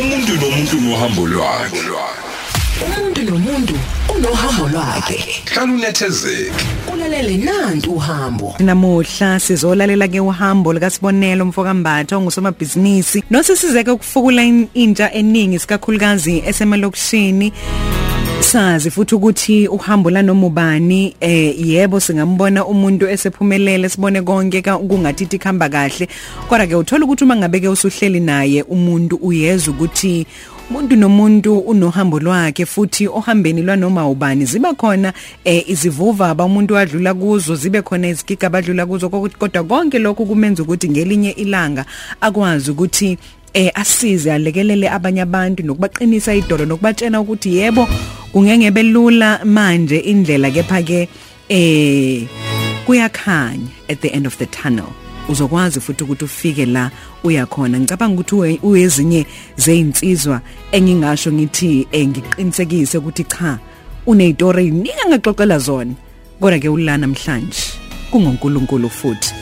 umuntu nomuntu nohambo lwakhe Umuntu nomuntu unohambo lwakhe. hlala unethezeke Kulalele nantu uhambo. Namuhla sizolalela ke uhambo likasibonelo mfokambatha ongusomabhizinisi nosisizeke ukufukula in- intsha eningi sikakhulukazi esemalokishini sazi futhi ukuthi uhambo la noma ubani eh yebo singambona umuntu esephumelele sibone konke ka- kungathithi khamba kahle kodwa ke uthola ukuthi uma ngabe ke usuhleli naye umuntu uyeza ukuthi umuntu nomuntu unohambo lwakhe futhi ohambeni lwanoma ubani ziba khona eh, izivuva umuntu adlula kuzo zibe khona izigiga abadlula kuzo kokuthi kodwa konke lokho kumenza ukuthi ngelinye ilanga akwazi ukuthi eh asize alekelele abanye abantu nokubaqinisa idolo nokubatshena ukuthi yebo kungengebe lula manje indlela kepha ke eh kuyakhanya at the end of the tunnel uzokwazi futhi ukuthi ufike la uyakhona ngicabanga ukuthi uwe- uyezinye zeyinsizwa engingasho ngithi eh, ngiqinisekise ukuthi cha unezitori eziningi angaxoxela zona kodwa ke ulana namhlanje kungonkulunkulu futhi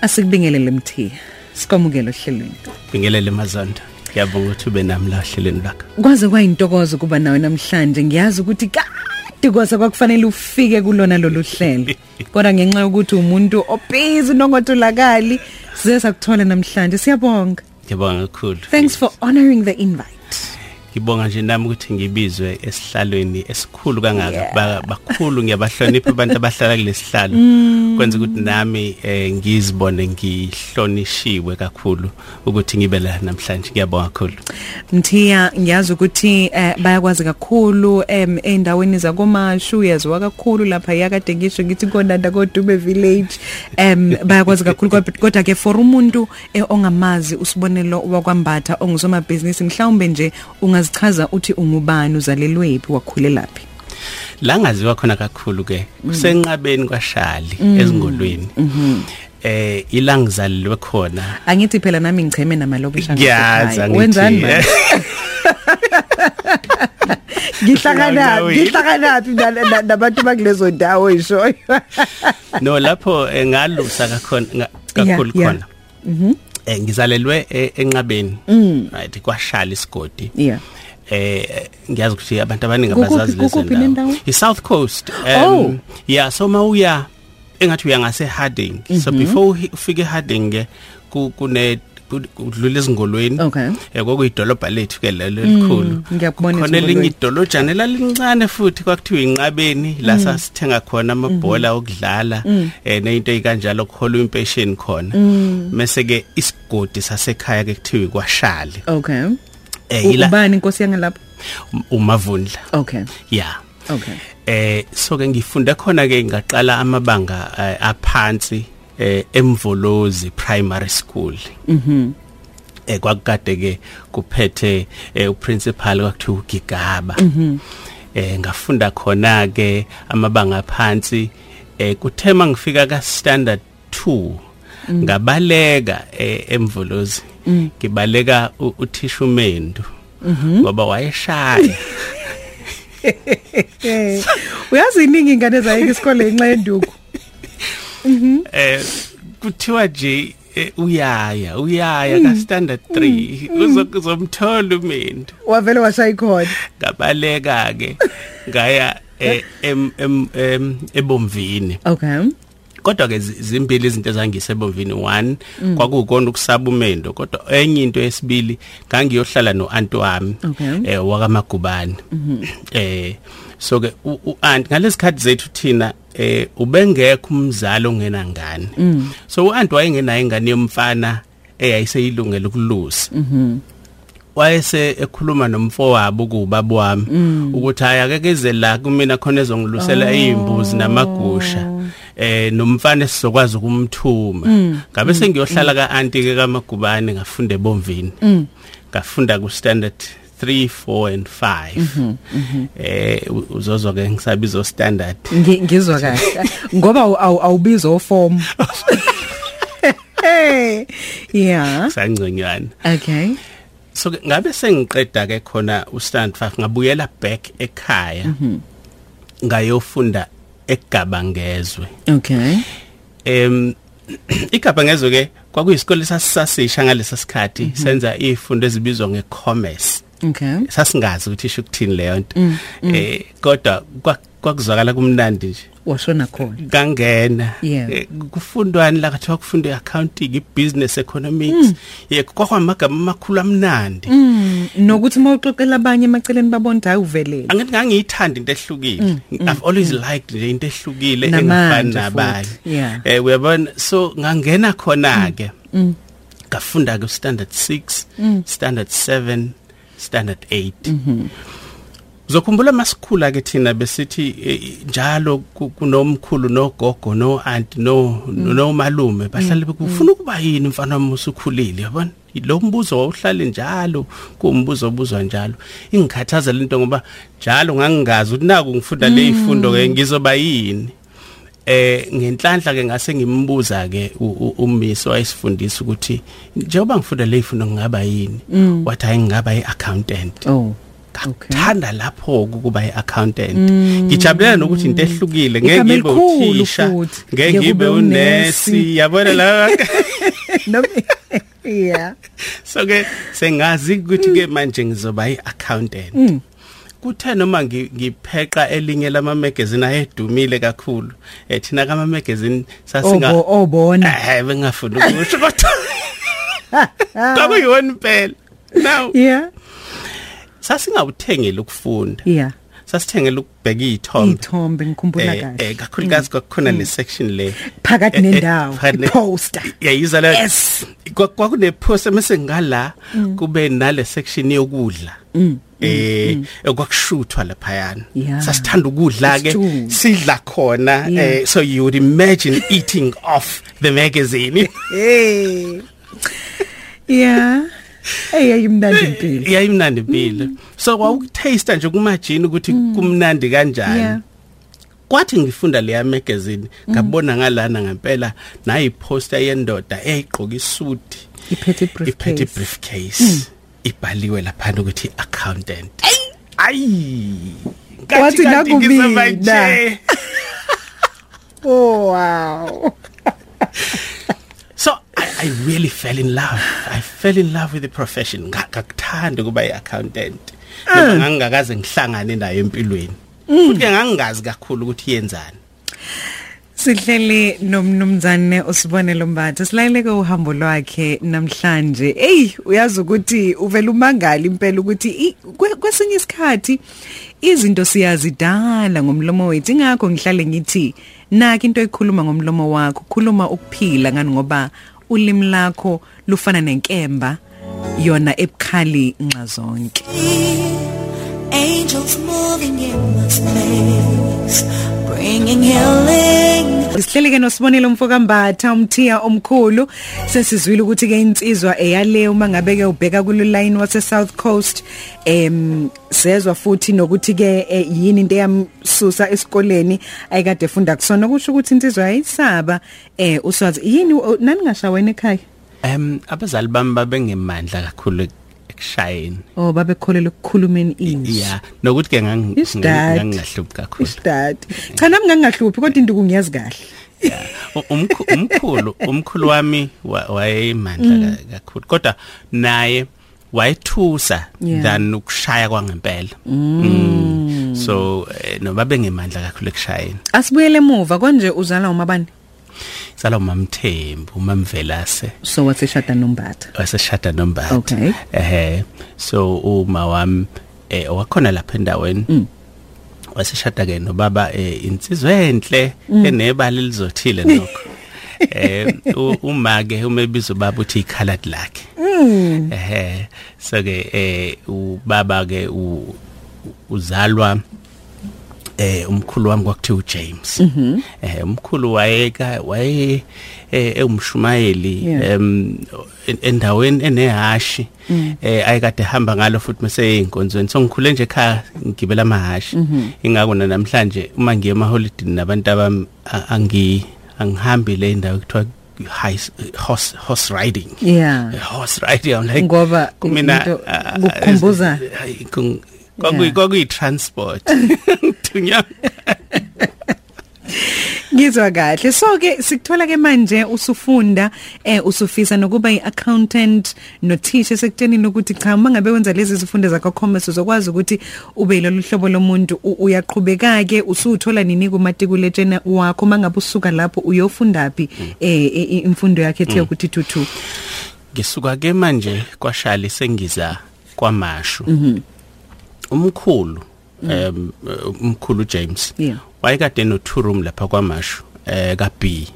asikubingelele mthiya sikwamukela ohlelweni Bingelele Mazonda. Ngiyabonga ukuthi ube nami la hleleni lakho. kwaze kwayintokozo kuba nawe namhlanje ngiyazi ukuthi kade kwase kwakufanele ufike kulona lolu hlelo kodwa ngenxa yokuthi umuntu obhizi nongotholakali size sakuthola namhlanje siyabonga Ngiyabonga kakhulu. thanks for honoring the invite Ngibonga nje nami ukuthi ngibizwe esihlalweni esikhulu kangaka. Ba- Bakhulu ngiyabahlonipha abantu abahlala kulesihlalo. Mm. Kwenza ukuthi nami eh, ngizibone ngihlonishiwe kakhulu ukuthi ngibe la namhlanje. Ngiyabonga kakhulu. Mthiya ngiyazi ukuthi eh, bayakwazi kakhulu em endaweni zakomashu uyaziwa kakhulu lapha yakade ngisho ngithi konanda kodube village em bayakwazi kakhulu kodwa- kodwa ke for umuntu eh, ongamazi usibonelo wakwambatha ongusomabhizinisi mhlawumbe nje ungazichaza uthi ungubani uzalelwephi wakhulelaphi la ngaziwa khona kakhulu ke Mm. kusenqabeni kwaShali ezingolweni Mm-hmm. eh ilangizalelwe khona angithi phela nami ngicheme namalokishana Ngiyazi, angithi, wenzani manje eh. Ngihlakanapi ngihlakanapi na- na- nabantu bakulezo ndawo ishoyo no lapho eh, ngalusa kakhona nga- kakhulu yeah. Mm-hmm. khona mhm eh ngizalelwe eh, enqabeni right kwaShali isigodi Mm. Yeah. eh ngiyazi ukuthi abantu abaningi Kukuphi- abazazi lezo kukuphi le ndawo ndawo? i South Coast Oh. yeah so mawuya engathi uya ngase Harding so Mm-hmm. before uhi- ufike Harding ke ku- kune ku- kudlula ezingolweni Okay. Mm. eh kokuyidolobha lethu ke lelo elikhulu ngiyakubona khona ezingolweni. elinye idolojana elalincane futhi kwakuthiwa inqabeni la sasithenga khona amabhola okudlala eh nento eyikanjalo kuholwa impatient khona mese ke isigodi sasekhaya ke kuthiwa kwashali okay eh U- yila ubani inkosi yangalapha umavundla okay yeah okay eh so ke ngifunde khona ke ngaqala amabanga eh, aphansi eh, emvolozi primary school mhm eh kwakukade ke kuphethe eh, uprincipal kwakuthiwa ugigaba mhm eh ngafunda khona ke amabanga aphansi eh kuthema ngifika ka standard 2 Mm. ngabaleka eh, emvolozi ngibaleka u- uthishumendo ngoba wayeshaya uyazi iningi ingane zayike isikole inxa yenduku eh kuthiwa nje eh, uyaya uyaya ka standard 3 uzokuzomthola umuntu wavele washaya ikhona ngabaleka ke ngaya eh, em em em- ebomvini okay kodwa ke zi- zimbili izinto ezangisebomvini one kwakukona ukusaba umendo kodwa enye into esibili ngangiyohlala noanti wami Okay. eh wakamagubane eh so ke uanti ngalesikhathi zethu thina eh ubengekho umzali ongena ngane so uanti wayengenayo ingane yomfana eyayiseyilungela ukulusa wayese ekhuluma nomfowabo ukubaba wami ukuthi ayakekeze la kumina khona ezongilusela izimbuzi namagusha eh nomfana sizokwazi ukumthuma ngabe sengiyohlala kaanti ke kamagubane ngafunde bomvini ngafunda ku standard 3 4 and 5 eh u- uzozwa ke ngisabizo standard Ngi- ngizwa kahle ngoba awu- awu- awubizwa uform hey yeah sangcinyana okay so ke ngabe sengiqeda ke khona ustand 5 ngabuyela back ekhaya ngayofunda ekugabangezwe okay em igabha ngezo ke kwakuyisikole sasisasisha ngalesa sikhathi senza ifundo ezibizwa ngecommerce okay sasingazi ukuthi isho ukuthini leyo nto eh kodwa kwa- kwakuzwakala kumnandi nje washona khona kangena Yeah. Eh, kufundwani la kathiwa kufundwa i-accounting i-business economics ye kwakwamagama amakhulu amnandi nokuthi mawuxoxela abanye emaceleni babona ukuthi hayi uvelele angithi ngangiyithanda into ehlukile i've always liked nje into ehlukile Namanje engafani futhi, nabanye yeah. Mm. eh uyabona so ngangena khona ke ngafunda ke standard 6 standard 7 standard Mm-hmm. 8 uzokhumbula masikhula ke thina besithi eh, njalo ku- kunomkhulu nogogo no aunt no Mm. no malume bahlale bekufuna ukuba yini mfana wami usukhulile yabona lo mbuzo wawuhlale njalo kuwumbuzo obuzwa njalo ingikhathaza lento ngoba njalo ngangingazi ukuthi naku ngifunda Mm. le ifundo ke ngizoba yini eh ngenhlanhla ke ngase ngimbuza ke umisi wayesifundisa ukuthi njengoba ngifunda le ifundo ngingaba yini wathi hayi ngingaba i-accountant oh Mm. okay Mm. ngathanda lapho ukuba i-accountant ngijabulela nokuthi into ehlukile ngeke Igama ngibe elikhulu uthisha futhi. ngeke Ngeke ngibe ube unesi. unesi yabona la Noma- yeah so ke sengazi ukuthi Mm. ke manje ngizoba i-accountant kuthe noma ngi- ngipheqa elinye lamamagazini ayedumile kakhulu eh thina kamamagazini sasinga Obo- obona. eh bengafuni ukusho kodwa kwakuyiwona impela now yeah sasingawuthengeli ukufunda yeah sasithengela ukubheka iy'thombe ithombe ngikhumbula Um, eh kahle eh, Mm. kakhulukazi kwakukhona le section le phakathi Eh, eh, nendawo, phakathi ne- i-poster. yayiza le Yes. Mm. Kwa- kwakune poster mase ngala kube nale section yokudla eh kwakushuthwa laphayana mm. Yeah. sasithanda ukudla ke Isitshulu. sidla khona Yeah. eh, so you would imagine eating off the magazine hey yeah eyayimnandi impilo Eh, Mm-hmm. yayimnandi impilo so wawukutaste nje kumajini ukuthi kumnandi Mm. Yeah. Mm-hmm. kanjani kwathi ngifunda leya magazine ngabona ngalana ngempela nayi poster yendoda eyigqoka isuti iphethe briefcase Mm. iphethe briefcase ibhaliwe lapha ukuthi accountant ayi Wathi nakubina. ngisabaye oh wow so I, i really fell in love i fell in love with the profession Nga- ngakuthanda ukuba i-accountant ngoba ngangingakaze ngihlangane nayo empilweni futhi ke ngangingazi kakhulu ukuthi yenzani Sihleli nomnumzane usibonelo Mbatha silaleke uhambo lwakhe namhlanje hey uyazi ukuthi uvela umangali impela ukuthi i- kwe- kwesinye isikhathi izinto siyazidala ngomlomo wethu ingakho ngihlale ngithi naki into ekhuluma ngomlomo wakho khuluma ukuphila ngani ngoba ulimi lakho lufana nenkemba yona ebukhali nxa zonke Angels moving in the space, bringing healing. Sihleleke nosibonile umfokambatha umthiya omkhulu sesizwile ukuthi ke insizwa eyaleyo mangabe ke ubheka kule line wase South Coast em sezwa futhi nokuthi ke eh, yini into eyamsusa esikoleni ayikade efunda kusona kusho ukuthi insizwa yayisaba eh uswazi yini o- nani ngashawena ekhaya um abazali bami babengemandla kakhulu ekushayeni oh babekholele ukukhulumeni ya nokuthi ke ngangi- ngangi- ngangingahluphi kakhulu istat cha nami ngangahluphi kodwa induku ngiyazi kahle U- umkhu- umkhulu umkhulu wami wa- wayemandla ka- kakhulu kodwa naye wayethusa Yeah. than ukushaya kwangempela Mm. so eh, noba bengemandla kakhulu ekushayeni asibuyele emuva konje uzala uma bani sala umamthembu umamvelase so waseshada nombatha waseshada nombatha Okay. ehe so uma wami eh wakhona lapha endaweni Mm. waseshada ke nobaba eh, insizwe enhle Mm. enebali lizothile nokho eh u- uma ke umebizo baba uthi icolor lakhe Mm. ehe so ke eh ubaba ke u- uzalwa eh umkhulu wami kwakuthiwa uJames Mm-hmm. eh umkhulu wayeka waye eh, ewumshumayeli Yeah. em en- endaweni enehashi Mm. eh ayekade ehamba ngalo futhi mase inkonzweni so ngikhule nje ekhaya ngigibela amahashi Mhm. ingakho na namhlanje uma ngiye emaholidini nabantu abami a- angi angihambi le ndawo ekuthiwa high horse horse riding yeah Eh, horse riding I'm like Mm. Ngoba into ah, kukukhumbuza. eh, ay, kung- kwakuyi- Yeah. kwakuyi transport Thunyana. Ngizwa kahle. So ke sikuthola ke manje usufunda eh usufisa nokuba iaccountant no teacher sekutenini ukuthi cha mangabe wenza lezi zifundo zakho commerce uzokwazi ukuthi ube yilolu hlobo lomuntu u- uyaqhubeka ke usuthola nini kumatikuletshe wakho mangabe usuka lapho uyofunda phi eh i- i- imfundo yakhe ethe Mm. ukuthi tuthu. ngisuka ke manje kwashali sengiza kwamashu Mm. umkhulu em umkhulu James Yeah. wayekade no two room lapha kwamashu eh ka B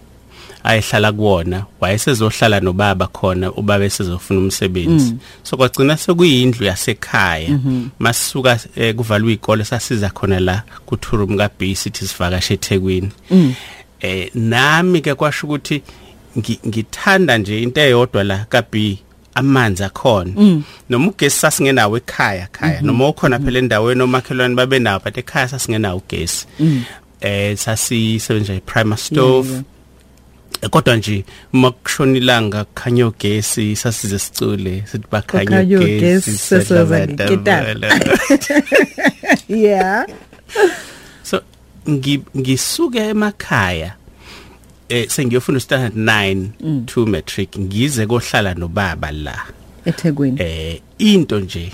ayihlala kuwona wayesezohlala nobaba khona ubaba esezofuna umsebenzi so kwagcina sekuyindlu yasekhaya masisuka eh, kuvalwa izikole sasiza khona la ku two room ka B sithi sivakashe eThekwini eh nami ke kwasho ukuthi ngi- ngithanda nje into eyodwa la ka B amanzi akhona noma ugesi sasingenawo ekhaya khaya noma ukhona phela endaweni omakhelwane babenawo but ekhaya sasingenawo ugesi eh sasisebenza i-primer stove Eh, kodwa nje uma kushonilanga kukhanya ugesi sasize sicule sithi bakhanya Kukhanya ugesi, ugesi sesoza sedlabadabala. Yeah. so ngi- ngisuke emakhaya eh sengiyofunda standard 9 mm. to matric ngize kohlala nobaba la Ethekwini. eh into nje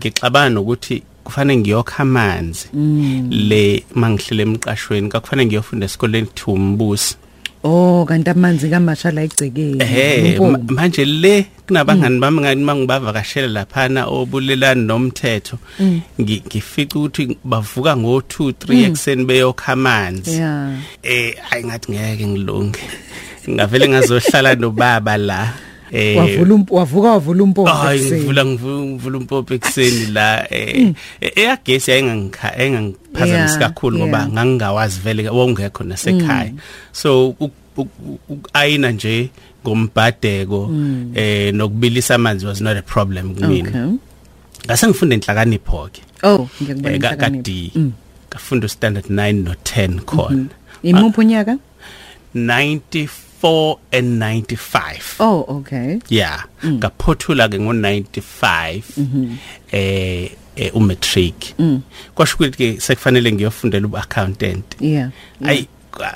ngixabana nokuthi kufanele ngiyokha amanzi Mm. le mangihlele emqashweni kakufanele ngiyofunda esikoleni thumbusi Oh kanti amanzi kamasha la egcekeni. ehe ma- Impompi. manje le Mm. kunabangani bami ngani mangibavakashela laphana obulelani nomthetho Mm. ngi- ngifica ukuthi bavuka ngo 2 3 ekseni beyokha amanzi Yeah. eh ayingathi ngeke ngilunge ngavele ngazohlala nobaba la eh Wavula ump- wavuka wavula umpompi. hayi ekuseni. ngivula ngivu- ngivula umpompi ekseni la eh eyagesi yayingangikha engangiphazamisa Mm. Yeah, kakhulu ngoba yeah. Mm. ngangingawazi vele ke wawungekho nasekhaya so ukayina nje ngombhadeko eh nokubilisa amanzi was not a problem kumina Mm. Okay. ngase ngifunde inhlakanipho ke Oh eh, ngiyakubona Mm. ka- ka kanti. D kafunda standard 9 no 10 Mm-hmm. khona Imupho nyaka? 94 and 95 Oh okay. yeah ngaphothula ke ngo95 eh eh, umatric kwasho ukuthi ke sekufanele ngiyofundela uba-accountant Yeah. ayi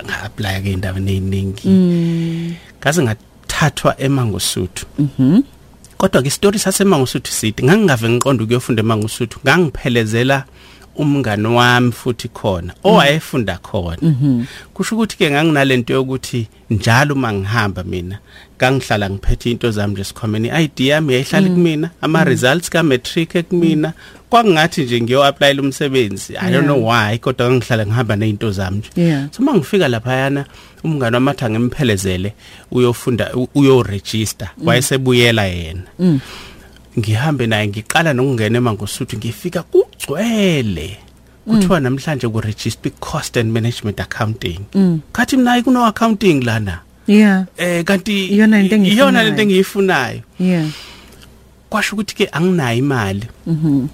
nga-aplya ke indabeni ey'ningi ngase ngathathwa emangosuthu kodwa ke isitori sasemangosuthu side ngangingave ngiqonda ukuyofunda emangosuthu ngangiphelezela umngani wami futhi khona owayefunda khona kusho ukuthi ke nganginalento yokuthi njalo uma ngihamba mina ngangihlala ngiphethe into zami nje esikhwameni i-id yami yayihlala kumina ama-results ka-matric ekumina kwakungathi nje ngiyo-aplayela umsebenzi i don't know why kodwa ngangihlala ngihamba ney'nto zami nje Yeah. so uma ngifika laphayana umngane wami athi angimphelezele uyofunda u- uyorejista mm. wayesebuyela yena mm. ngihambe naye ngiqala nokungena emangosuthu ngifika kugcwele kuthiwa mm. namhlanje kurejista i-cost and management accounting mm. kathi mnaye kuno-accounting lana Yeah. eh kanti Iyona into engiyifunayo. iyona lento engiyifunayo Yeah. kwasho ukuthi ke anginayo imali Mhm.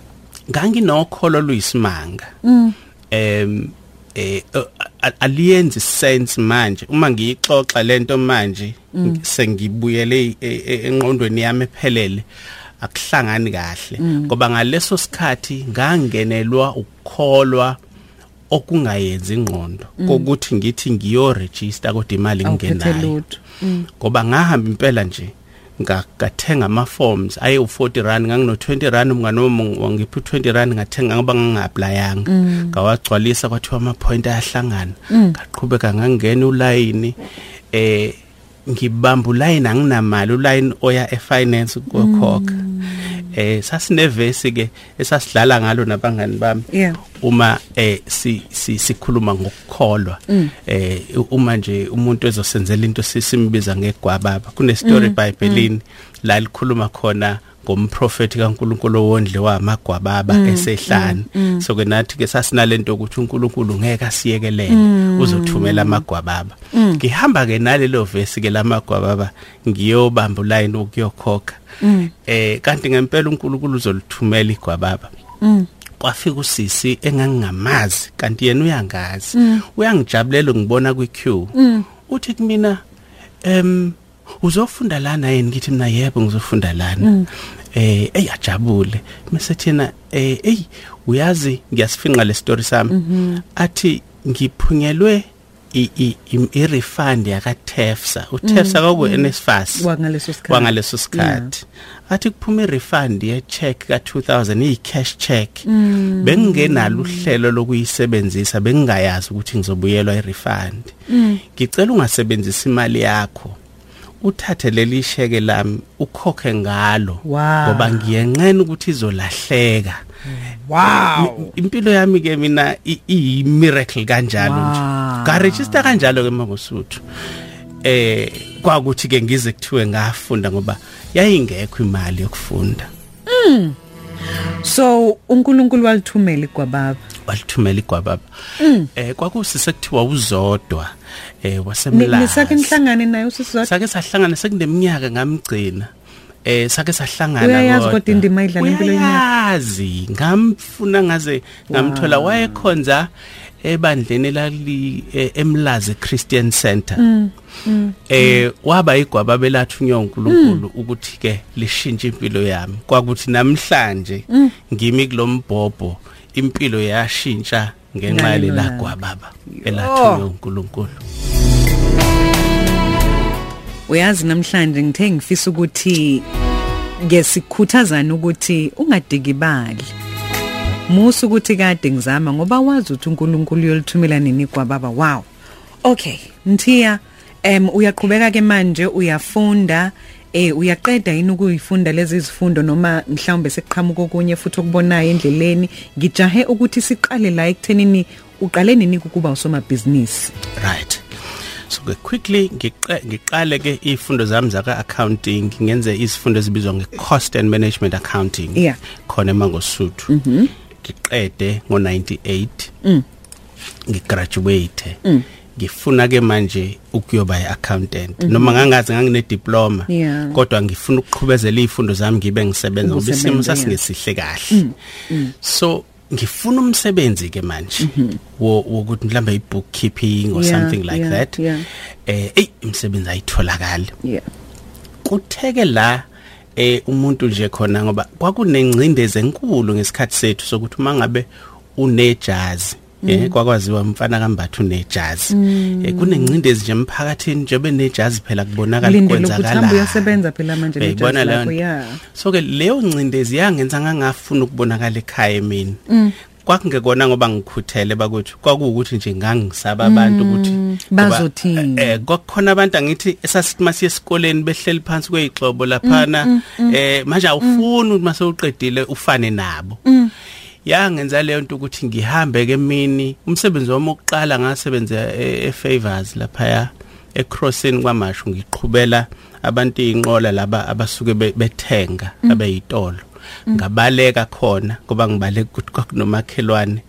nganginokholo luyisimanga Mm. em eh uh, a- aliyenzi sense manje uma ngiyixoxa lento manje Mm. sengibuyele e- e- enqondweni yami ephelele akuhlangani kahle Mm. ngoba ngaleso sikhathi ngangenelwa ukukholwa okungayenzi ingqondo kokuthi ngithi ngiyoregister kodwa imali Mm. Awuphethe ngingenayo lutho. ngoba ngahamba impela nje nga- ngathenga ama-forms aye u-40 rand ngangino-20 rand umngane wami wangiphi u-20 rand ngathenga ngoba nganginga-aplayanga ngawagcwalisa kwathiwa ama-point ayahlangana ngaqhubeka ngangena ulayini eh ngibamba ulayini anginamali ulayini oya e-finance ukuyokhokha eh sasinevesi ke esasidlala ngalo nabangani bami Yeah. uma eh si si- sikhuluma ngokukholwa eh u- uma nje umuntu ezosenzela into si- simbiza ngegwababa kune story eBhayibhelini la likhuluma khona ngomprofeti kaNkuluNkulu owondle wamagwababa esehlani so ke nathi ke sasinalento ukuthi uNkulunkulu ngeke asiyekelele uzothumela amagwababa ngihamba ke nalelo verse ke lamagwababa ngiyobamba uline ukuyokhokha eh kanti ngempela uNkulunkulu uzolithumela igwababa kwafika usisi engangingamazi kanti yena uyangazi Mm. uyangijabulela ngibona kwiqueue uthi kumina em uzofunda lana yini ngithi mina yebo ngizofunda lana Mm. eh eyajabule mase thina eh Mm-hmm. ey uyazi ngiyasifinqa le story sami athi ngiphunyelwe i- i- im- i-refund yakatefsa utefsa kwaku NSFAS Mm-hmm. Kwangaleso sikhathi. kwangaleso sikhathi athi kuphuma i-refund ye-check ka2000 iyi-cash check bengingenalo uhlelo lokuyisebenzisa bengingayazi ukuthi ngizobuyelwa i-refund ngicela ungasebenzisa imali yakho uthathe leli sheke lami ukhokhe ngalo Wow. ngoba ngiyenqena ukuthi izolahleka wow impilo yami ke mina i- iyi-miracle kanjalo nje Wow. ngarejista kanjalo ke mangosuthu eh kwakuthi ke ngize kuthiwe ngafunda ngoba yayingekho imali yokufunda so uNkulunkulu walithumela kwababa walithumela igwababa eh kwakusise kuthiwa uzodwa eh nisake wasemlala nihlangane naye usisizathu sake sahlangana sekuneminyaka ngamgcina eh sake sahlangana Uyayazi kodwa. kodwa indima ayidlala empilweni yakhe. uyayazi ngamfuna ngaze Ah. ngamthola wayekhonza ebandleni lali eh, emlazi Christian Center Mm, eh waba igwaba belathunywa uNkulunkulu Mm. ukuthi ke lishintshe impilo yami kwakuthi namhlanje Mm. ngimi kulombhobho impilo yashintsha ngenxa Ngalelo lela langa. gwababa elathunywa uNkulunkulu uyazi namhlanje ngithe ngifisa ukuthi ke sikhuthazana ukuthi ungadikibali musu ukuthi kade ngizama ngoba wazi ukuthi uNkulunkulu uyolithumela nini kwababa wow okay mthiya em uyaqhubeka ke manje uyafunda eh uyaqeda yini ukuyifunda lezi zifundo noma mhlawumbe sekuqhamuka okunye futhi okubonayo endleleni ngijahe ukuthi siqale la ekuthenini uqale nini ukuba usomabhizinisi right so ke quickly ngiqe- ngiqale ke izifundo zami zaka accounting ngenze izifundo ezibizwa nge cost and management accounting Yeah. Mhm. khona emangosuthu ngiqede ngo 98 mm. ngigraduate Mm. ngifuna ke manje ukuyoba iaccountant noma ngangazi ngangine diploma Mhm. Yeah. kodwa ngifuna ukuqhubezela izifundo zami ngibe ngisebenza ngoba isimo Ukusebenza, yeah. Mm. sasingesihle kahle so ngifuna umsebenzi ke manje Mhm. wo- wokuthi mhlambe i-bookkeeping or Yeah, something like yeah, that yeah. eh ey imsebenzi ayitholakala yeah kutheke la eh umuntu nje khona ngoba kwakunengcindeze enkulu ngesikhathi sethu sokuthi uma ngabe unejazi Mm. eh kwakwaziwa umfana kambathu nejazi eh kunengcindezi nje emphakathini nje benejazi phela kubonakala Ulindele ukuthi kwenzakala hambe uyosebenza phela manje nejazi uyayibona leyo lakho, nto? yeah. so ke leyo ncindezi yangenza ngangafuna ukubonakala ekhaya emini kwakungekona ngoba ngikhuthele bakwethu kwakuwukuthi nje ngangisaba abantu ukuthi ngoba, bazothini? eh kwakukhona abantu angithi esasithi masiye esikoleni behleli phansi kweyixobo laphana eh manje awufuni ukuthi mase uqedile ufane nabo yangenza leyo nto ukuthi ngihambe ke mini umsebenzi wami oqala ngasebenza e- e-favors laphaya ecrossing kwamashu ngiqhubela abantu inqola laba abasuke be- bethenga abeyitolo ngabaleka khona ngoba ngibaleka ukuthi kwakunomakhelwane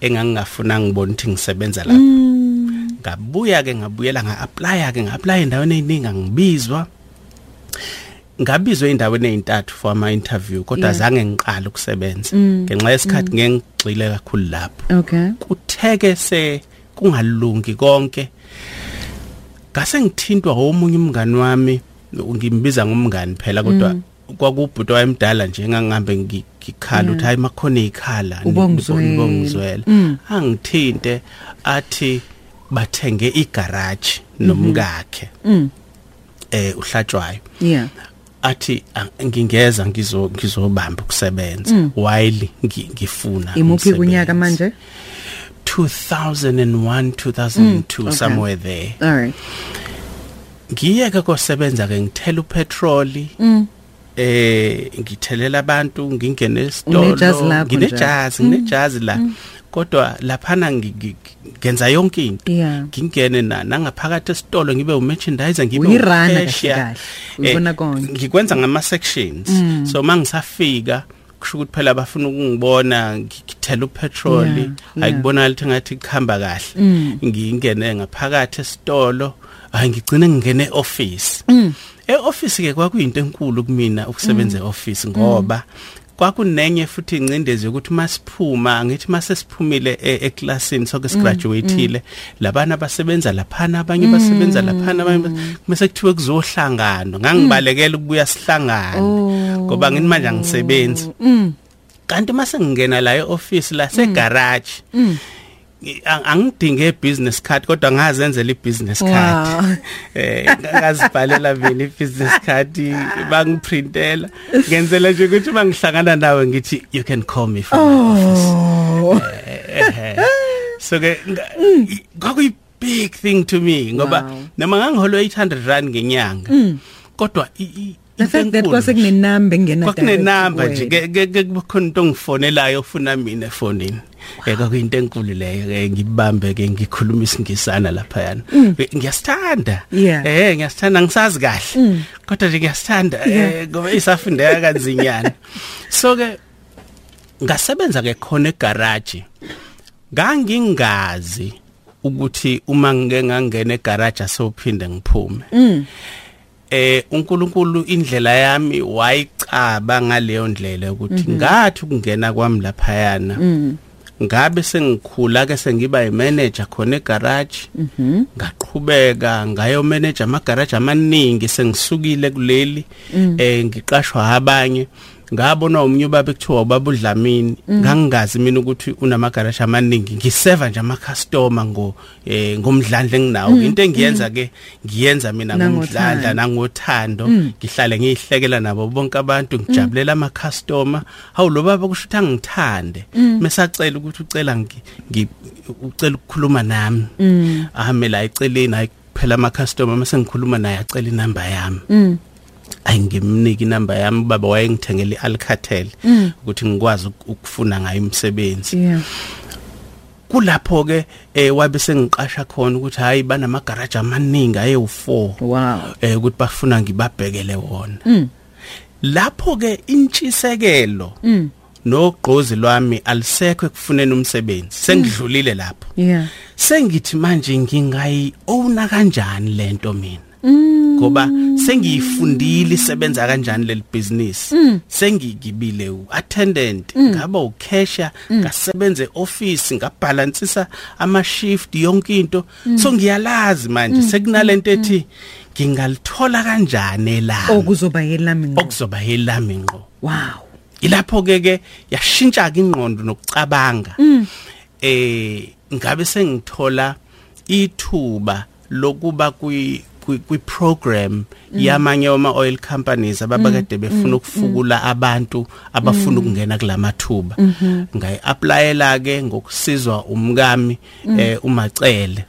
engangingafuna ngibona ukuthi ngisebenza lapho ngabuya ke ngabuyela nga-aplya ke nga-aplya endaweni eyiningi angibizwa ngabizwe endaweni eyintathu for ama-interview kodwa Yeah. zange ngiqale ukusebenza ngenxa yesikhathi ngeke ngigxile kakhulu lapho okay kutheke se kungalungi konke ngase ngithintwa omunye umngani wami ngimbiza ngomngani phela kodwa Mm. kwakubhuti wayemdala nje engangihambe ngi- ngikhala ukuthi hayi makhona iy'khala Mm. Ubongizwele. Mm. ubongizwela angithinte athi bathenge igaraji nomkakhe Mm-hmm. Mm. eh uhlatshwayo yeah athi ah, ngingeza ngizo ngizobamba ukusebenza while ngi- ngifuna Mm. imuphi kunyaka umsebenzi. manje 2001 2002 Mm, okay. somewhere there all right ngiyeke kosebenza ke ngithela upetroli Mm. eh ngithelela abantu ngingene Unejazi esitolo lakho nginejazi nginejazi la Mm. kodwa laphana ngi- ngi- ngenza yonke into Yeah. ngingene na nangaphakathi esitolo ngibe umerchandiser ngibe Uyirana u-cashier. kahle kahle, uyibona Eh, konke. Mm. ngikwenza ngama sections so mangisafika kusho ukuthi phela bafuna ukungibona ngithela upetroli Yeah, yeah. ayikubonakala ukuthi ngathi kuhamba kahle ngingene ngaphakathi esitolo hayi ngigcine ngingene e-office e-office ke kwakuyinto enkulu kumina ukusebenza e-office ngoba kwakunenye futhi ingcindezi yokuthi masiphuma ngithi masesiphumile e- eklasini soke sigraduateile labana basebenza laphana abanye basebenza laphana abanye kumase kuthiwe kuzohlanganwa ngangibalekela ukubuya sihlangane ngoba ngithi manje Mm. angisebenzi kanti mase ngingena la e-office la segarage i- ang- angidinge business card kodwa ngazenzela ibusiness Wow. card eh ngazibhalela mina ibusiness card bangiprintela ngenzela nje ukuthi bangihlangana nawe ngithi you can call me from my Oh. Ehhe. so ke nga- i- kwakuyi big thing to me Mm. Wow. Mm. ngoba noma ngangiholwe 800 rand ngenyanga kodwa i- i- The into fact that enkulu nje. kwasekunenamba engena kwakunenamba direct nje kuwena. ke- ke- ke kukhona into ongifonelayo ofuna mina efonini Eh, kwakuyinto enkulu leyo ke ngibambe ke ngikhuluma isingisana laphayana Be- Eh, ngiyasithanda Mm. Yeah. Mm. eh ngiyasithanda ngisazi kahle kodwa nje ngiyasithanda eh ngoba isafundeka kanzinyana so ke ngasebenza ke khona egarage ngangingazi ukuthi uma ngike ngangena egarage asophinde ngiphume eh uNkulunkulu indlela yami wayicaba ngaleyo ndlela ukuthi ngathi ukungena kwami laphayana ngabe sengikhula ke sengiba imanager khona egarage ngaqhubeka ngayo manager amagarage amaningi sengisukile kuleli eh ngiqashwa abanye ngabona umnye ubaba ekuthiwa ubaba uDlamini ngangingazi mina ukuthi unamagarage amaningi ngiseva nje ama customer ngo eh ngomdlandla enginawo into engiyenza ke ngiyenza mina Nangothando. ngomdlandla nangothando ngihlale ngiyihlekela nabo bonke abantu ngijabulela ama customer hawu lo baba kusho ukuthi angithande mesacela ukuthi ucela ngi ngi- ucela ukukhuluma nami Ah, ahame la eceleni hayi phela ama customer mase ngikhuluma naye acela inamba yami ayingimniki inamba yami baba wayengithengele iAlcatel ukuthi ngikwazi uk- ukufuna ngayo imsebenzi Yeah. kulapho ke eh wabe sengiqasha khona ukuthi hayi banamagaraji amaningi aye u4 Wow. eh ukuthi bafuna ngibabhekele wona lapho ke intshisekelo nogqozi lwami alisekho ekufuneni umsebenzi sengidlulile lapho Yeah. sengithi manje ngingayi owna kanjani lento mina ngoba sengiyifundile isebenza kanjani leli business sengigibile uattendant ngaba ucashier ngasebenza eoffice ngabalansisa ama shift yonke into so ngiyalazi manje sekunalento ethi ngingalithola kanjani elami Okuzoba yelami ngqo. okuzoba elami ngqo Wow. ilapho ke ke yashintsha ke ingqondo nokucabanga eh ngabe sengithola ithuba lokuba kwi kwi- kwiprogram yamanye ama oil companies ababakade befuna ukufukula abantu abafuna ukungena kulamathuba ngayi applyela ke ngokusizwa umkami eh umacele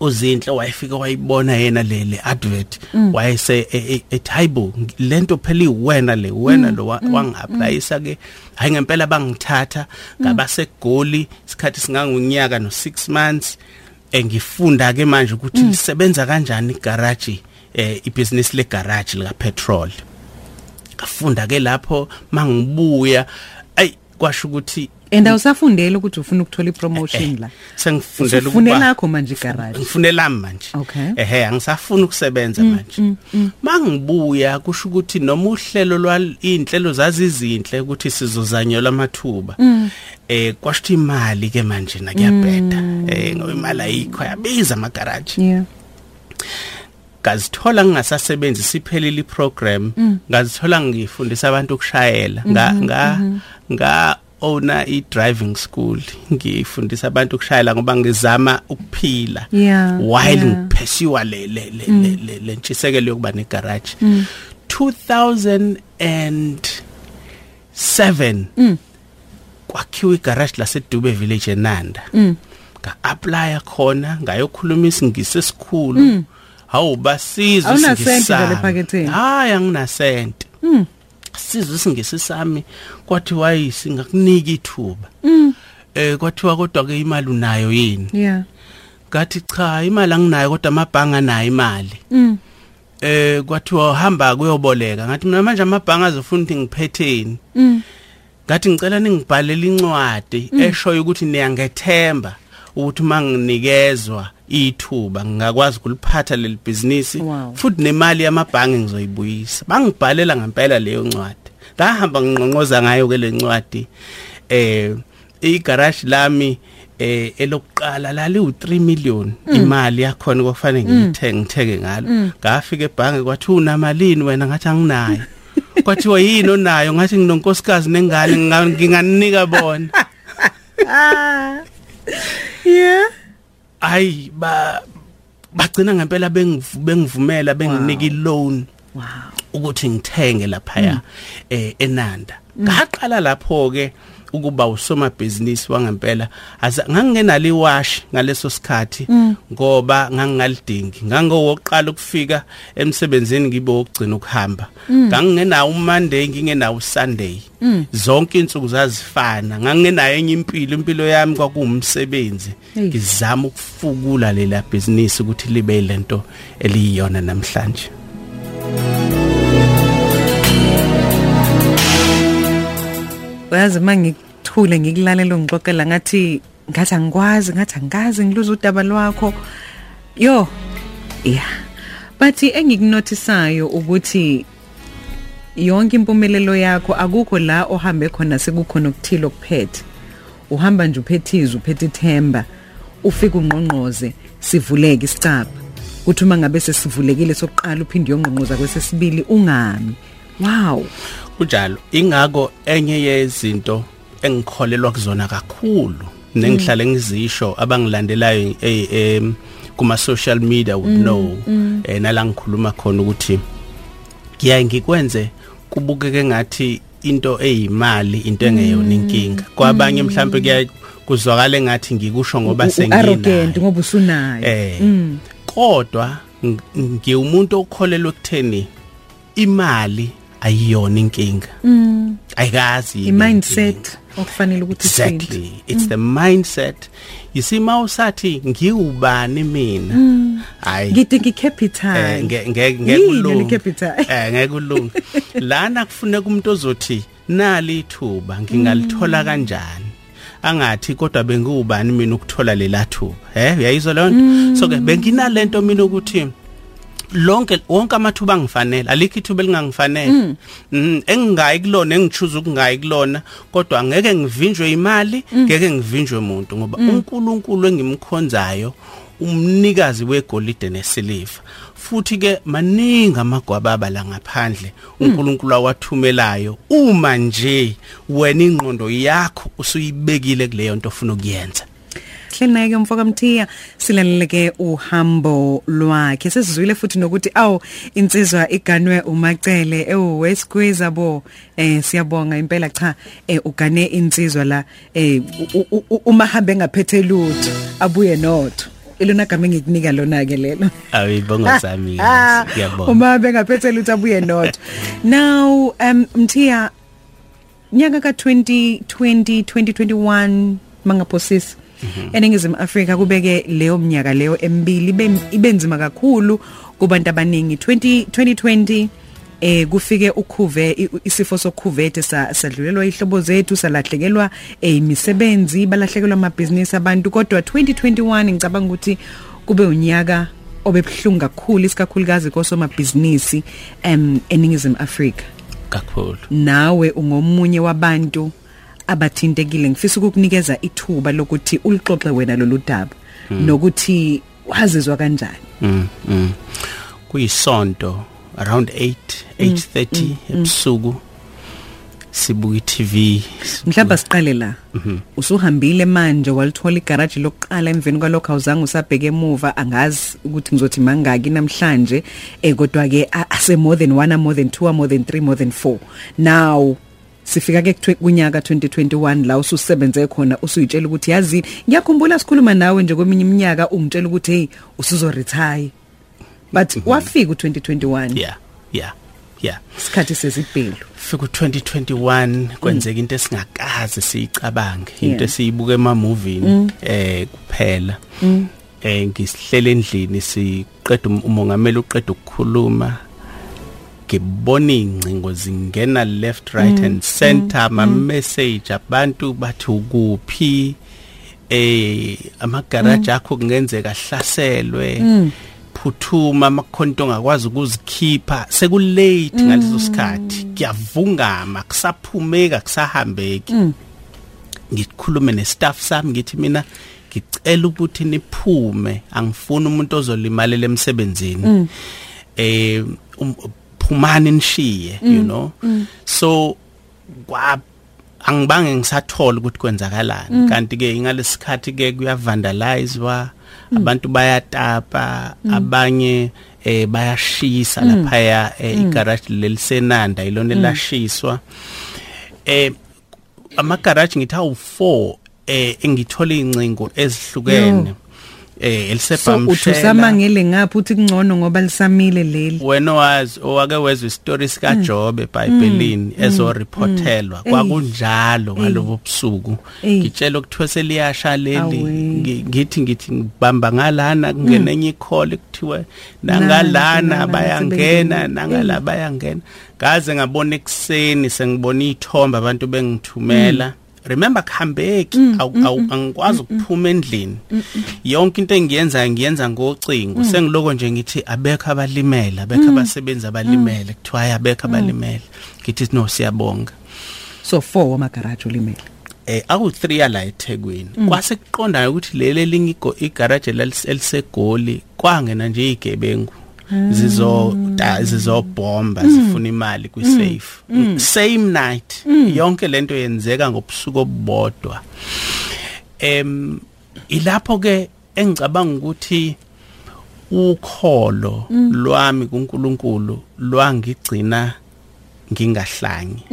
uzinhle wayefika wayibona yena le le advert wayese e- e- ethi hayibo lento phela iwena le wena lo wa- wangiapplyisa ke hayi ngempela bangithatha ngabasegoli isikhathi singangunyaka no 6 months engifunda ke manje ukuthi lisebenza kanjani igarage eh ibusiness le garage lika petrol ngafunda ke lapho mangibuya ayi kwasho ukuthi And awusafundela ukuthi ufuna ukuthola ipromotion eh, la. sengifundela Ufune ukuba lakho manje igarage. ngifunela manje Okay. Mm, ehe angisafuni ukusebenza manje mangibuya kusho ukuthi noma uhlelo lwainhlelo zazizinhle ukuthi sizozanyelwa amathuba Mm. eh kwashuthi imali ke manje nakuyabheda Mm. eh ngoba imali ayikho yabiza amagaraji Yeah. ngazithola ngingasasebenzi siphelile iprogram ngazithola ngifundisa abantu ukushayela nga nga nga owner i driving school ngifundisa abantu ukushayela ngoba ngizama ukuphila Yeah, while yeah. Mm. ngiphesiwa le le le le- le- le ntshisekelo yokuba ne garage 2007 Mm. kwakhiwa igarage laseDube Village eNanda Mm. nga-applya khona ngayokhuluma isingisi esikhulu hawu basiza Mm. Awunasenti Mm. isingisi nje sami. ephaketheni? hayi anginasente siza isingisi sami kwathiwa "Hhayi, singakuniki ithuba Mm. eh kwathiwa kodwa-ke imali unayo yini Yeah. ngathi cha imali anginayo kodwa amabhanga nayo imali eh kwathiwa hamba kuyoboleka ngathi mina manje amabhanga azofuna ukuthi ngiphetheni Mm. ngathi ngicela ningibhalele incwadi eshoyo ukuthi niyangethemba ukuthi manginikezwa ithuba ngingakwazi kuliphatha leli business Wow. futhi nemali yamabhangi ngizoyibuyisa bangibhalela ngempela leyo ncwadi ngahamba nginqonqoza ngayo ke le ncwadi eh igarage lami eh elokuqala lali u3 million imali yakhona kwafanele ngithenge ngithenge ngalo ngafika ebhange kwathi unamalini wena ngathi anginayo kwathiwa yini onayo ngathi nginonkosikazi nengane nginga- nginganika bona yeah hayi ba bagcina ngempela bengiv- bengivumela benginika iloan wow ukuthi ngithenge lapha eh enanda ngaqala lapho ke ukuba usomabhizinisi wangempela aza ngangenali wash ngaleso sikhathi ngoba ngangalidingi ngangowoqala ukufika emsebenzini ngibe wokugcina ukuhamba ngangenawo uMonday ngingenawo uSunday zonke insuku zazifana ngangenayo enye impilo impilo yami kwakuwumsebenzi Eish. ngizama ukufukula lela business ukuthi libe lento eliyiyona namhlanje uyazi mangikuthule ngikulalela ngixoxela ngathi ngathi angikwazi ngathi angikazi ngiluza udaba lwakho yo yeah but engikunotisayo ukuthi yonke impumelelo yakho akukho la ohambe khona sekukhona ukuthilo kuphethe uhamba nje uphethiza uphethe ithemba ufika ungqonqoze sivuleke isicapha kuthi uma ngabe sesivulekile sokuqala uphinde uyongqonqoza kwesesibili ungami wow kunjalo ingako enye yezinto engikholelwa kuzona kakhulu nengihlale ngizisho abangilandelayo eh, em, kuma social media would know eh, nala ngikhuluma khona ukuthi ngiyaye ngikwenze kubukeke ngathi into eyimali into engeyona inkinga kwabanye mhlawumbe kuya kuzwakala ngathi ngikusho ngoba arrogant sengiyinaki ngoba usunayo eh Mm. kodwa ng- ngiwumuntu okholelwa ekutheni imali ayiyona inkinga ayikazi yini inkinga. Mm. i-mindset Mm. okufanele ukuthi ishintshe exactly it's the mindset you see mawusathi ngiwubani mina hayi Mm. ngithi Eh, ngi-capital nge- nge- Yini ngekulunga. le-capital? Eh, ngekulunga lana kufuneka umuntu ozothi nali ithuba ngingalithola kanjani angathi kodwa bengiwubani mina ukuthola lela thuba eh uyayizwa leyo nto so ke benginalento mina ukuthi lonke wonke amathuba angifanele alikho ithuba elingangifanele Mhm, engingayi kulona engichuza ukungayi kulona kodwa ngeke ngivinjwe imali ngeke ngivinjwe umuntu ngoba uNkulunkulu engimkhonzayo umnikazi wegolide nesiliva futhi ke maningi amagwababa la ngaphandle uNkulunkulu awathumelayo uma nje wena ingqondo yakho usuyibekile kuleyo nto ofuna ukuyenza hleli naye-ke mfokamthiya silaleleke uhambo lwakhe sesizwile futhi nokuthi awu insizwa iganwe umacele ewuwesgwiza bo um siyabonga impela cha um ugane insizwa la um umahambe engaphethe lutho abuye notho elona gama engikunika lona-ke lelo awibongo sami Ah, ngiyabonga uma bengaphethe lutho abuye not now um mthiya nyaka ka-2020 2021 mangaphosisi eningizimu afrika kubeke leyo mnyaka leyo emibili ibe- ibe nzima kakhulu kubantu abaningi 20 2020 Eh kufike ukhuve i- isifo sokhuvethe sa- sadlulelwa ihlobo zethu salahlekelwa eh, imisebenzi balahlekelwa amabhizinisi abantu kodwa 2021 ngicabanga ukuthi kube unyaka obebuhlungu kakhulu isikakhulukazi kosomabhizinisi em eningizimu Afrika kakhulu nawe ungomunye wabantu abathintekile ngifisa ukukunikeza ithuba lokuthi ulixoxe wena lolu daba nokuthi wazizwa kanjani Mm, mm. kuyisonto around 8 Mm, 8:30 ebusuku sibuka iTV Mm. mhlawumbe siqale la usuhambile manje walithola igaraji lokuqala emveni kwalokho awuzange usabheke emuva angazi ukuthi ngizothi mangaki namhlanje um kodwa-ke a- ase more than one more than two more than three more than four now sifika-ke kutwe- kunyaka 2021 la ususebenze khona usuyitshela ukuthi yazini ngiyakhumbula sikhuluma nawe nje kweminye iminyaka ungitshela ukuthi heyi usuzorethaye but wafika u-2021 yeah yeah yeah isikhathi sezibhelu fika u2021 kwenzeka into esingakaze Mm. siyicabange Yeah. Mm. into esiyibuka emamovini eh kuphela eh ngisihlele endlini siqeda um- umongameli uqeda ukukhuluma ngibona ingcingo zingena left right and center ama message abantu bathi ukuphi eh ama garage akho kungenzeka ahlaselwe phuthuma amakhonto ongakwazi ukuzikhipha sekulate ngaleso sikhathi kuyavungama kusaphumeka kusahambeki ngikhulume nestaff sami ngithi mina ngicela ukuthi niphume angifuni umuntu ozolimalela emsebenzini eh um- phumani nishiye you know so kwa angibange ngisathola ukuthi kwenzakalani kanti ke ingalesikhathi ke kuyavandalizwa abantu bayatapa abanye eh bayashisa lapha eh, igarage lelisenanda ilona elashiswa eh ama garage ngithi awu 4 eh engithola incingo ezihlukene eh so elisebhamshela uthi usamangele ngapha uthi kungcono ngoba lisamile leli wena owazi owake wezwa isitori sikajobe Mm. ebhayibhelini ezoriphotelwa Eyi. kwakunjalo ngalobo busuku Eyi. ngitshela ukuthiwa seliyasha leli Awe. Mm. ngi- ngithi ngithi ngibamba ngalana kungena enye ikhole kuthiwa Nala, nangalana nala, bayangena sebengena. nangala bayangena ngaze ngabona ekuseni sengibona iy'thombe abantu bengithumela remember kuhambeki Awu- awu- angikwazi ukuphuma endlini yonke into engiyenzayo ngiyenza ngocingo sengiloko nje ngithi abekho abalimele abekho abasebenzi abalimele kuthiwa hayi abekho abalimele ngithi no siyabonga so 4 wamagaraji olimele eh awu 3 ala eThekwini kwase kuqondayo ukuthi lele linye igo- igarage elalise- elisegoli kwangena nje igebengu zizo ta- zizobomba zifuna imali kwi safe same night yonke lento yenzeka ngobusuku obodwa em ilapho ke engicabanga ukuthi ukholo lwami kuNkulunkulu lwangigcina ngingahlangi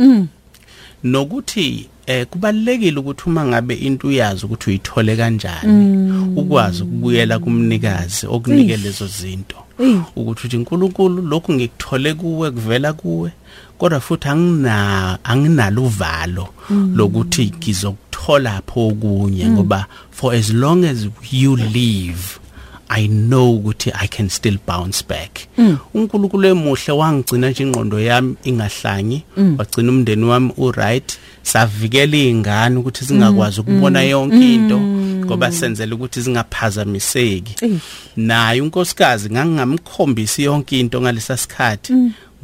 nokuthi eh kubalekile ukuthi uma ngabe into uyazi ukuthi uyithole kanjani ukwazi ukubuyela kumnikazi okunike lezo zinto ukuthi uthi uNkulunkulu lokhu ngikuthole kuwe kuvela kuwe kodwa futhi angina anginalo uvalo lokuthi ngizokuthola pho okunye ngoba for as long as you live I know ukuthi I can still bounce back. uNkulunkulu emuhle wangigcina nje ingqondo yami ingahlangi, wagcina umndeni wami uright, savikela izingane ukuthi zingakwazi ukubona yonke into ngoba senzele ukuthi zingaphazamiseki. Eyi. Naye unkosikazi ngangingamkhombisi yonke into ngalesa sikhathi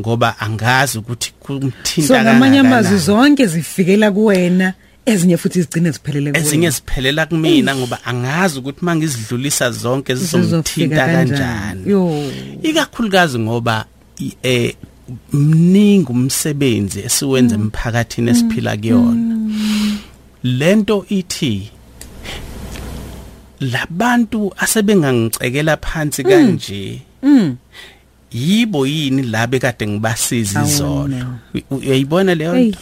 ngoba angazi ukuthi Mm. so kumthinta ngamanye amazwi kangakanani. zonke zifikela kuwena ezinye futhi zigcine ziphelele kuwena ezinye ziphelela kumina ngoba angazi ukuthi mangizidlulisa zonke Mm. Zizofika zizomthinta kanjani. kanjani Yo. ikakhulukazi ngoba i- eh mningi umsebenzi esiwenza emphakathini esiphila kuyona lento ithi labantu asebengangicekela phansi kanje yibo yini labe kade ngibasiza Awona. izolo U- u- uyayibona leyo Eyi. nto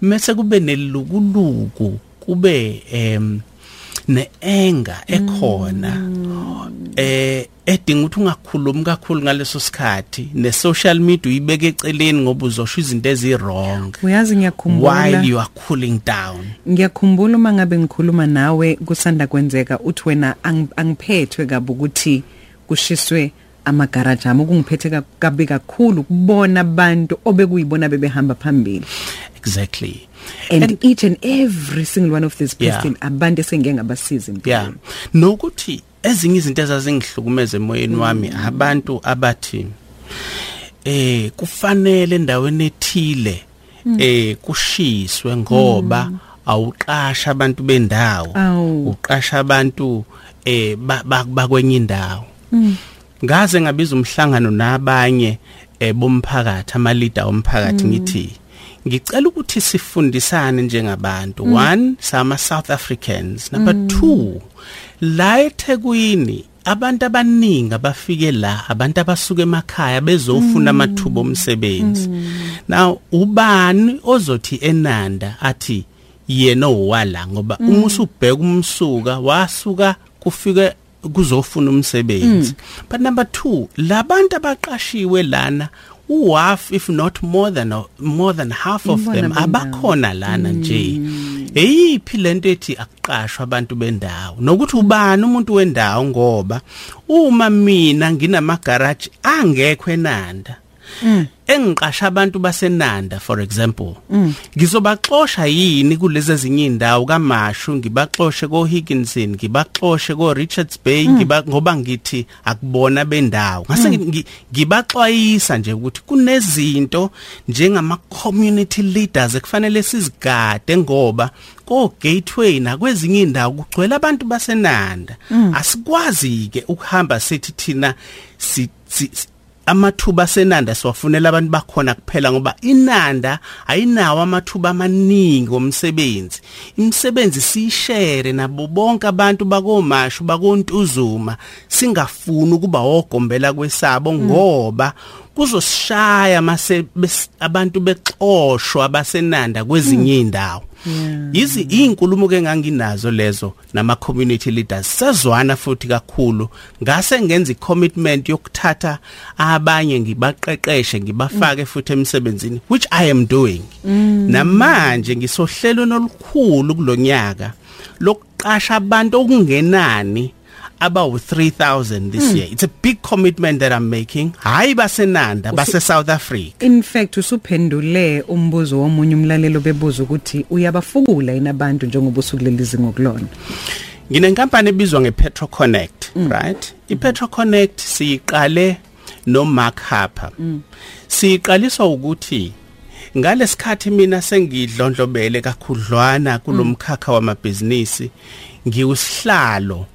mase kube nelukuluku kube em neenga ekhona eh edinga ukuthi ungakhulumi kakhulu ngaleso sikhathi ne-social media uyibeke eceleni ngoba uzosho izinto ezi-wrong uyazi ngiyakhumbula while you are cooling down ngiyakhumbula uma ngabe ngikhuluma nawe kusanda kwenzeka uthi wena angi- angiphethwe kabi ukuthi kushiswe amagaraji ami okungiphethe ka- kabi kakhulu kubona abantu obekuyibona bebehamba phambili exactly and, and each and every single one of these Yeah. person abantu esengike ngabasiza yeah empilweni nokuthi ezinye izinto ezazingihlukumeza emoyeni wami abantu abathi eh kufanele endaweni ethile eh kushiswe ngoba awuqasha abantu bendawo Awu. uqasha abantu eh ba- ba- bakwenye indawo ngaze ngabiza umhlangano nabanye eh, bomphakathi amalida omphakathi ngithi ngicela ukuthi sifundisane njengabantu one sama South Africans number 2 la eThekwini abantu abaningi abafike la abantu abasuka emakhaya bezofuna amathuba omsebenzi now ubani ozothi enanda athi yena owala ngoba uma usubheka umsuka wasuka kufike kuzofuna umsebenzi but number 2 labantu abaqashiwe lana uhalf if not more than more than half of Ngibona them bendawo. abakhona lana nje eyiphi lento ethi akuqashwa abantu bendawo nokuthi ubani umuntu wendawo ngoba uma mina nginamagaraji angekho enanda engiqasha abantu basenanda for example ngizobaxosha yini kulezi ezinye indawo kaMashu ngibaxoshe koHigginson ngibaxoshe koRichards Bay ngiba ngoba ngithi akubona bendawo ngase ngi- ngibaxwayisa nje ukuthi kunezinto njengama community leaders ekufanele sizigade ngoba ko gateway nakwezinye indawo kugcwele abantu basenanda asikwazi ke ukuhamba sithi thina si si- amathuba senanda siwafunela abantu bakhona kuphela ngoba inanda ayinawo amathuba amaningi omsebenzi imisebenzi siyishare nabo bonke abantu bakomashu bakontuzuma singafuni ukuba wogombela kwesabo ngoba kuzosishaya mase bes- abantu bexoshwa abasenanda kwezinye indawo yizi inkulumo ke nganginazo lezo nama community leaders sezwana futhi kakhulu ngase ngenza icommitment yokuthatha abanye ngibaqeqeshe ngibafake futhi emsebenzini which i am doing namanje ngisohlelo nolukhulu kulonyaka lokuqasha abantu okungenani about 3000 this year it's a big commitment that i'm making hayi basenanda base south africa in fact usuphendule umbuzo womunye umlalelo bebuza ukuthi uyabafukula yini abantu njengoba usukuleli izingo kulona nginenkampani ebizwa ngePetro Connect mm. right iPetro Connect siqale noMark Harper mm. siqaliswa ukuthi ngalesikhathi mina sengidlondlobele kakhudlwana kulomkhakha wamabhizinisi ngiwusihlalo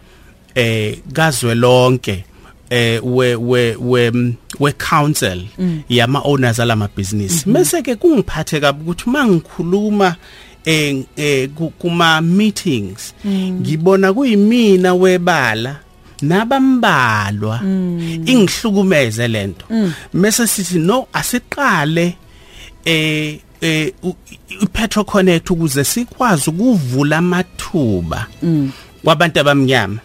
eh kazwelonke eh we we we mm, we council yama owners alama business mase ke kungiphathe kabi ukuthi mangikhuluma eh eh, ku- kuma meetings ngibona kuyimina webala nabambalwa ingihlukumeze lento mase sithi no asiqale eh eh u- i- Petro Connect ukuze sikwazi ukuvula amathuba kwabantu abamnyama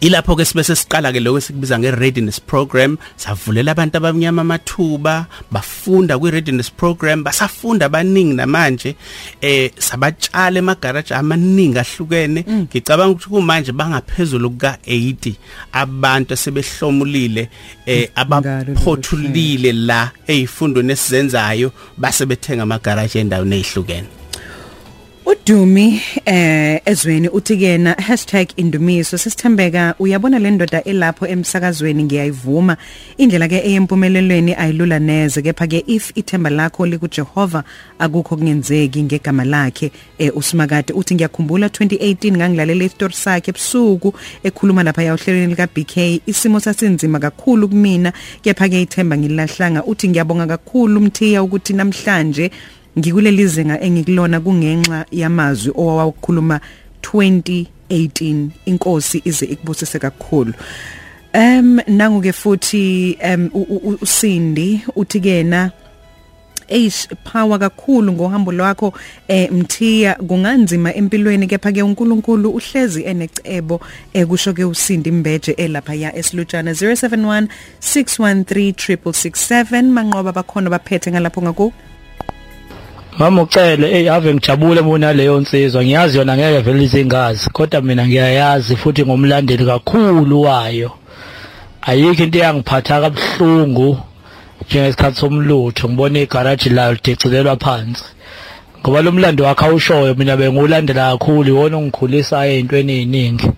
ilapho ke sibe sesiqala ke lokho esikubiza nge-readiness program savulela abantu abamnyama amathuba bafunda kwi-readiness program basafunda abaningi namanje eh sabatshala emagaraji amaningi ahlukene Mm. ngicabanga ukuthi kumanje bangaphezulu kuka-80 abantu asebehlomulile eh Mm. Ngalo lolu abaphothulile la ey'fundweni esizenzayo basebethenga amagaraji endaweni ey'hlukene udumi eh ezweni uthi kena #indumiso sisithembeka uyabona le ndoda elapho emsakazweni ngiyayivuma indlela ke eyempumelelweni ayilula neze kepha ke if ithemba lakho likuJehova akukho kungenzeki ngegama lakhe eh, usimakade uthi ngiyakhumbula 2018 ngangilalela isitori sakhe ebusuku ekhuluma lapha yahlelweni lika BK isimo sasinzima kakhulu kumina kepha ke ithemba ngilahlanga uthi ngiyabonga kakhulu umthiya ukuthi namhlanje ngikuleli zinga engikulona kungenxa yamazwi owawakhuluma 2018 inkosi ize ikubusise kakhulu em nangu ke futhi em u- u- u- usindi uthi kena eish power kakhulu ngohambo lwakho eh mthiya kunganzima empilweni kepha ke uNkulunkulu uhlezi enecebo ekusho ke usindi imbeje elapha ya esilutshana 071 613 manqoba bakhona baphethe ngalapho ngaku Mama ucele hey ave ngijabule bona leyo nsizwa ngiyazi yona ngeke vele izingazi kodwa mina ngiyayazi futhi ngomlandeli kakhulu wayo ayikho into eyangiphatha kabuhlungu njengesikhathi somlutho ngibona igaraji layo lidicilelwa phansi ngoba lo mlando wakhe awushoyo mina bengiwulandela kakhulu iwona ongikhulisayo ey'ntweni ey'ningi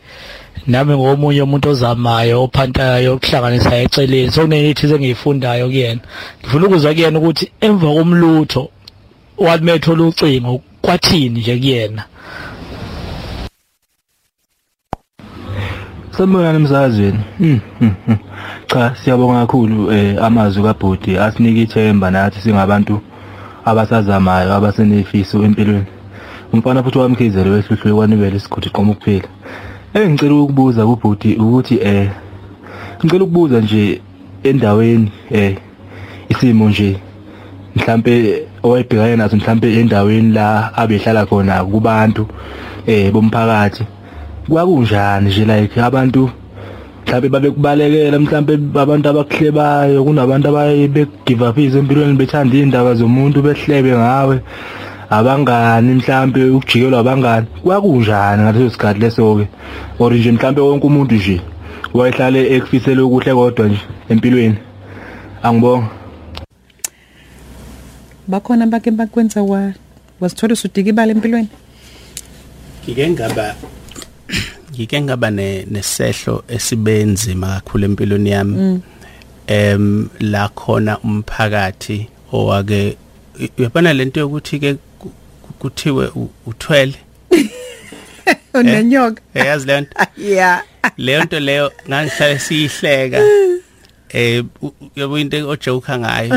nami ngomunye umuntu ozamayo ophantayo okuhlanganisa eceleni sokunenithize engiyifundayo kuyena ngifuna ukuzwa kuyena ukuthi emva komlutho wathi methola ucingo kwathini nje kuyena Sambonani emsakazweni. Mhm, mhm. Cha, siyabonga kakhulu eh amazwi kaBhodi asinike ithemba nathi singabantu abasazamayo abasenefiso empilweni. Umfana futhi wamkhizelo wehluhlwe kwanibele isigodi qoma ukuphila. Engicela ukubuza kuBhodi ukuthi eh ngicela ukubuza nje endaweni eh isimo nje mhlambe owayebhekana naso mhlambe endaweni la abehlala khona kubantu eh bomphakathi kwakunjani nje like abantu mhlambe babekubalekela mhlambe abantu abakuhlebayo kunabantu abaye begive up empilweni bethanda indaba zomuntu behlebe ngawe abangani mhlambe ukujikelwa abangani kwakunjani ngaleso sikhathi leso ke or nje mhlambe wonke umuntu nje wayehlale ekufisela okuhle kodwa nje empilweni angibonga bakhona bake bakwenza wa wasithola usudika ibala empilweni ngike ngaba ngike ngaba ne nesehlo esibenzima kakhulu empilweni yami em la khona umphakathi owake u- uyabona lento yokuthi ke ku- ku- kuthiwe u- uthwele unenyoka Eh? uyazi le nto yeah leyo nto leyo ngangihlale siyihleka eh u- u- yabo into ojoke ngayo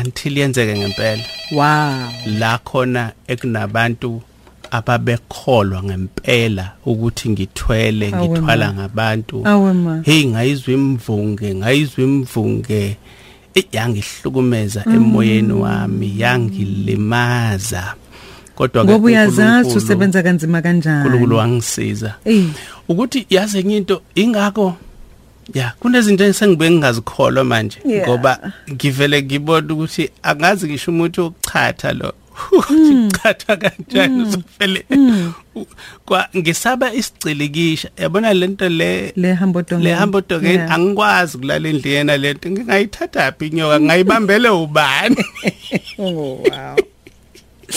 until yenzeke ngempela wow la khona ekunabantu ababekholwa ngempela ukuthi ngithwele Awe ngithwala ma. ngabantu Awe ma. hey ngayizwa imvunge ngayizwa imvunge Eh, yangihlukumeza Mm. emoyeni wami yangilimaza kodwa ngoba uyazazi usebenza kanzima uNkulunkulu kanjani wangisiza Eh. ukuthi yazi enye into ingakho ya kunezinto engisengibe ngingazikholwa manje Yeah. ngoba ngivele ngibona ukuthi angazi ngisho umuntu ochatha lo Mm. uchatha kanjani uzofele kwa ngisaba isigcilikisha yabona lento le Le hambo dongeni. le hambo dongeni Yeah. angikwazi kulala endlini lento ngingayithatha phi inyoka ngayibambele ubani oh wow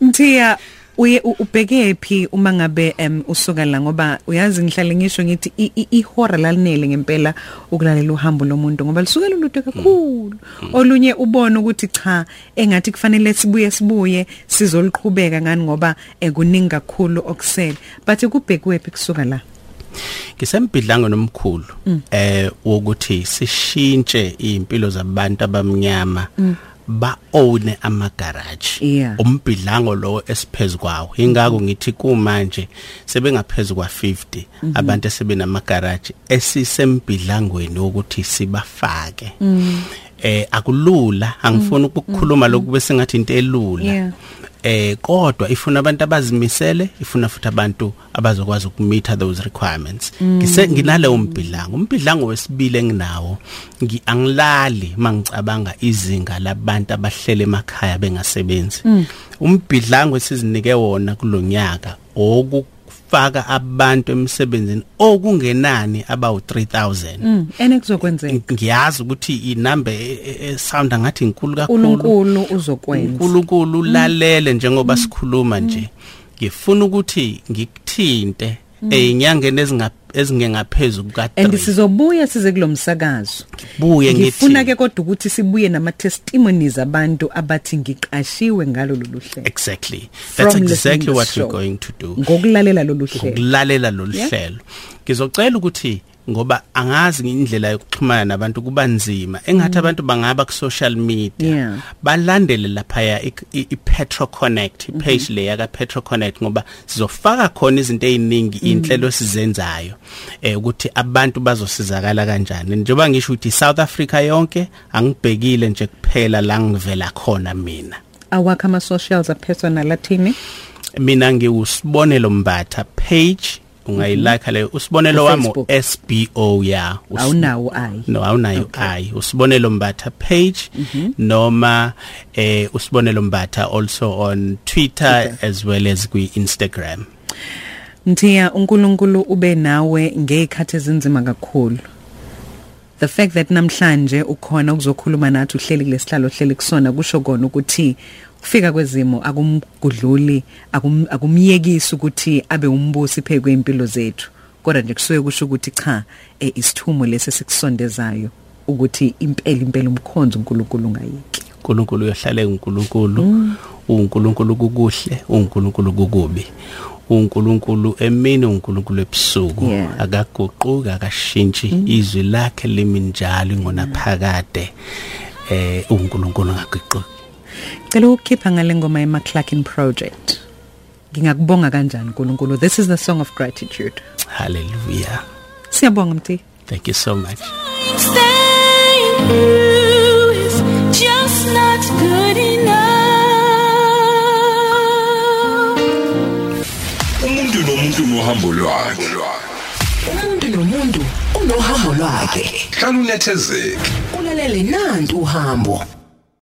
mthiya uye u- ubheke phi uma ngabe em usuka la ngoba uyazi ngihlale ngisho ngithi i- i- ihora lalinele ngempela ukulalela uhambo lomuntu ngoba lisuke lulude Hmm. kakhulu olunye ubone ukuthi cha engathi kufanele sibuye sibuye sizoliqhubeka ngani ngoba eh, kuningi kakhulu okusele but kubhekwe phi kusuka la ngisembidlango nomkhulu Mm. eh wokuthi sishintshe impilo zabantu abamnyama ba own ama garage Mm. Yeah. umbidlango lo esiphezukwawo ingakho ngithi kumanje sebengaphezukwa 50 Mhm. abantu sebenama garage esisembidlangweni wokuthi sibafake Mm. eh akulula angifuni ukukhuluma lokube sengathi into Yeah. elula eh kodwa ifuna abantu abazimisele ifuna futhi abantu abazokwazi ukumeet those requirements ngise nginale umbhilango umbhilango wesibili enginawo ngi angilali mangicabanga izinga labantu abahlele emakhaya bengasebenzi umbhilango esizinike wona kulonyaka okufaka abantu emsebenzini okungenani abawu 3000 mm. ene kuzokwenzeka ngiyazi ukuthi e-, inamba esounda ngathi inkulu kakhulu uNkulunkulu uzokwenza uNkulunkulu Mm. lalele njengoba sikhuluma nje ngifuna ukuthi ngikuthinte einyangeni ezinga ezingengaphezulu Mm. and ka3 sizobuya size kulomsakazo buye ngifuna ke ngithi kodwa ukuthi sibuye nama testimonies abantu abathi ngiqashiwe ngalo lolu hlelo exactly From that's listening exactly this what show. we're going to do ngokulalela lolu hlelo ukulalela lolu Yeah. hlelo ngizocela ukuthi ngoba angazi indlela yokuxhumana nabantu kuba nzima engathi abantu bangaba ku social Yeah. media balandele lapha ya iPetro Connect page leya ka Petro Connect ngoba sizofaka khona izinto eziningi inhlelo sizenzayo eh ukuthi abantu bazosizakala kanjani njengoba ngisho ukuthi South Africa yonke angibhekile nje kuphela la ngivela khona mina awakha ama socials apersonal athini mina ngiwusibonelo mbatha page ungayilike leyo usibonelo wami Facebook. SBO ya Usi- Awunawo i. no awunayo i usibonelo mbatha page noma eh usibonelo mbatha also on Twitter as well as kwi Instagram Mthiya uNkulunkulu ube nawe ngezikhathi ezinzima kakhulu. The fact that namhlanje ukhona ukuzokhuluma nathi uhleli kulesihlalo hleli kusona kusho kona ukuthi kufika kwezimo akumgudluli akum- akumyekisi ukuthi abe umbusi phe kweimpilo zethu. Kodwa nje kusuye kusho ukuthi cha eh, isithumo lesi sikusondezayo ukuthi impela impela umkhonzo uNkulunkulu ngayiki. uNkulunkulu uyohlala uNkulunkulu uNkulunkulu kukuhle uNkulunkulu kukubi uNkulunkulu emini uNkulunkulu ebusuku Yeah. akaguquka akashintshi izwi lakhe limi njalo ingona phakade eh uNkulunkulu ngaguquki Cela ukukhipha ngale ngoma ye McClarkin Project. Ngingakubonga kanjani uNkulunkulu. This is the song of gratitude. haleluya Siyabonga mthi. thank you so much Thank you is just not good enough. umuntu nomuntu nohambo lwakhe Umuntu nomuntu unohambo lwakhe. hlala unethezeke Kulalele nantu uhambo.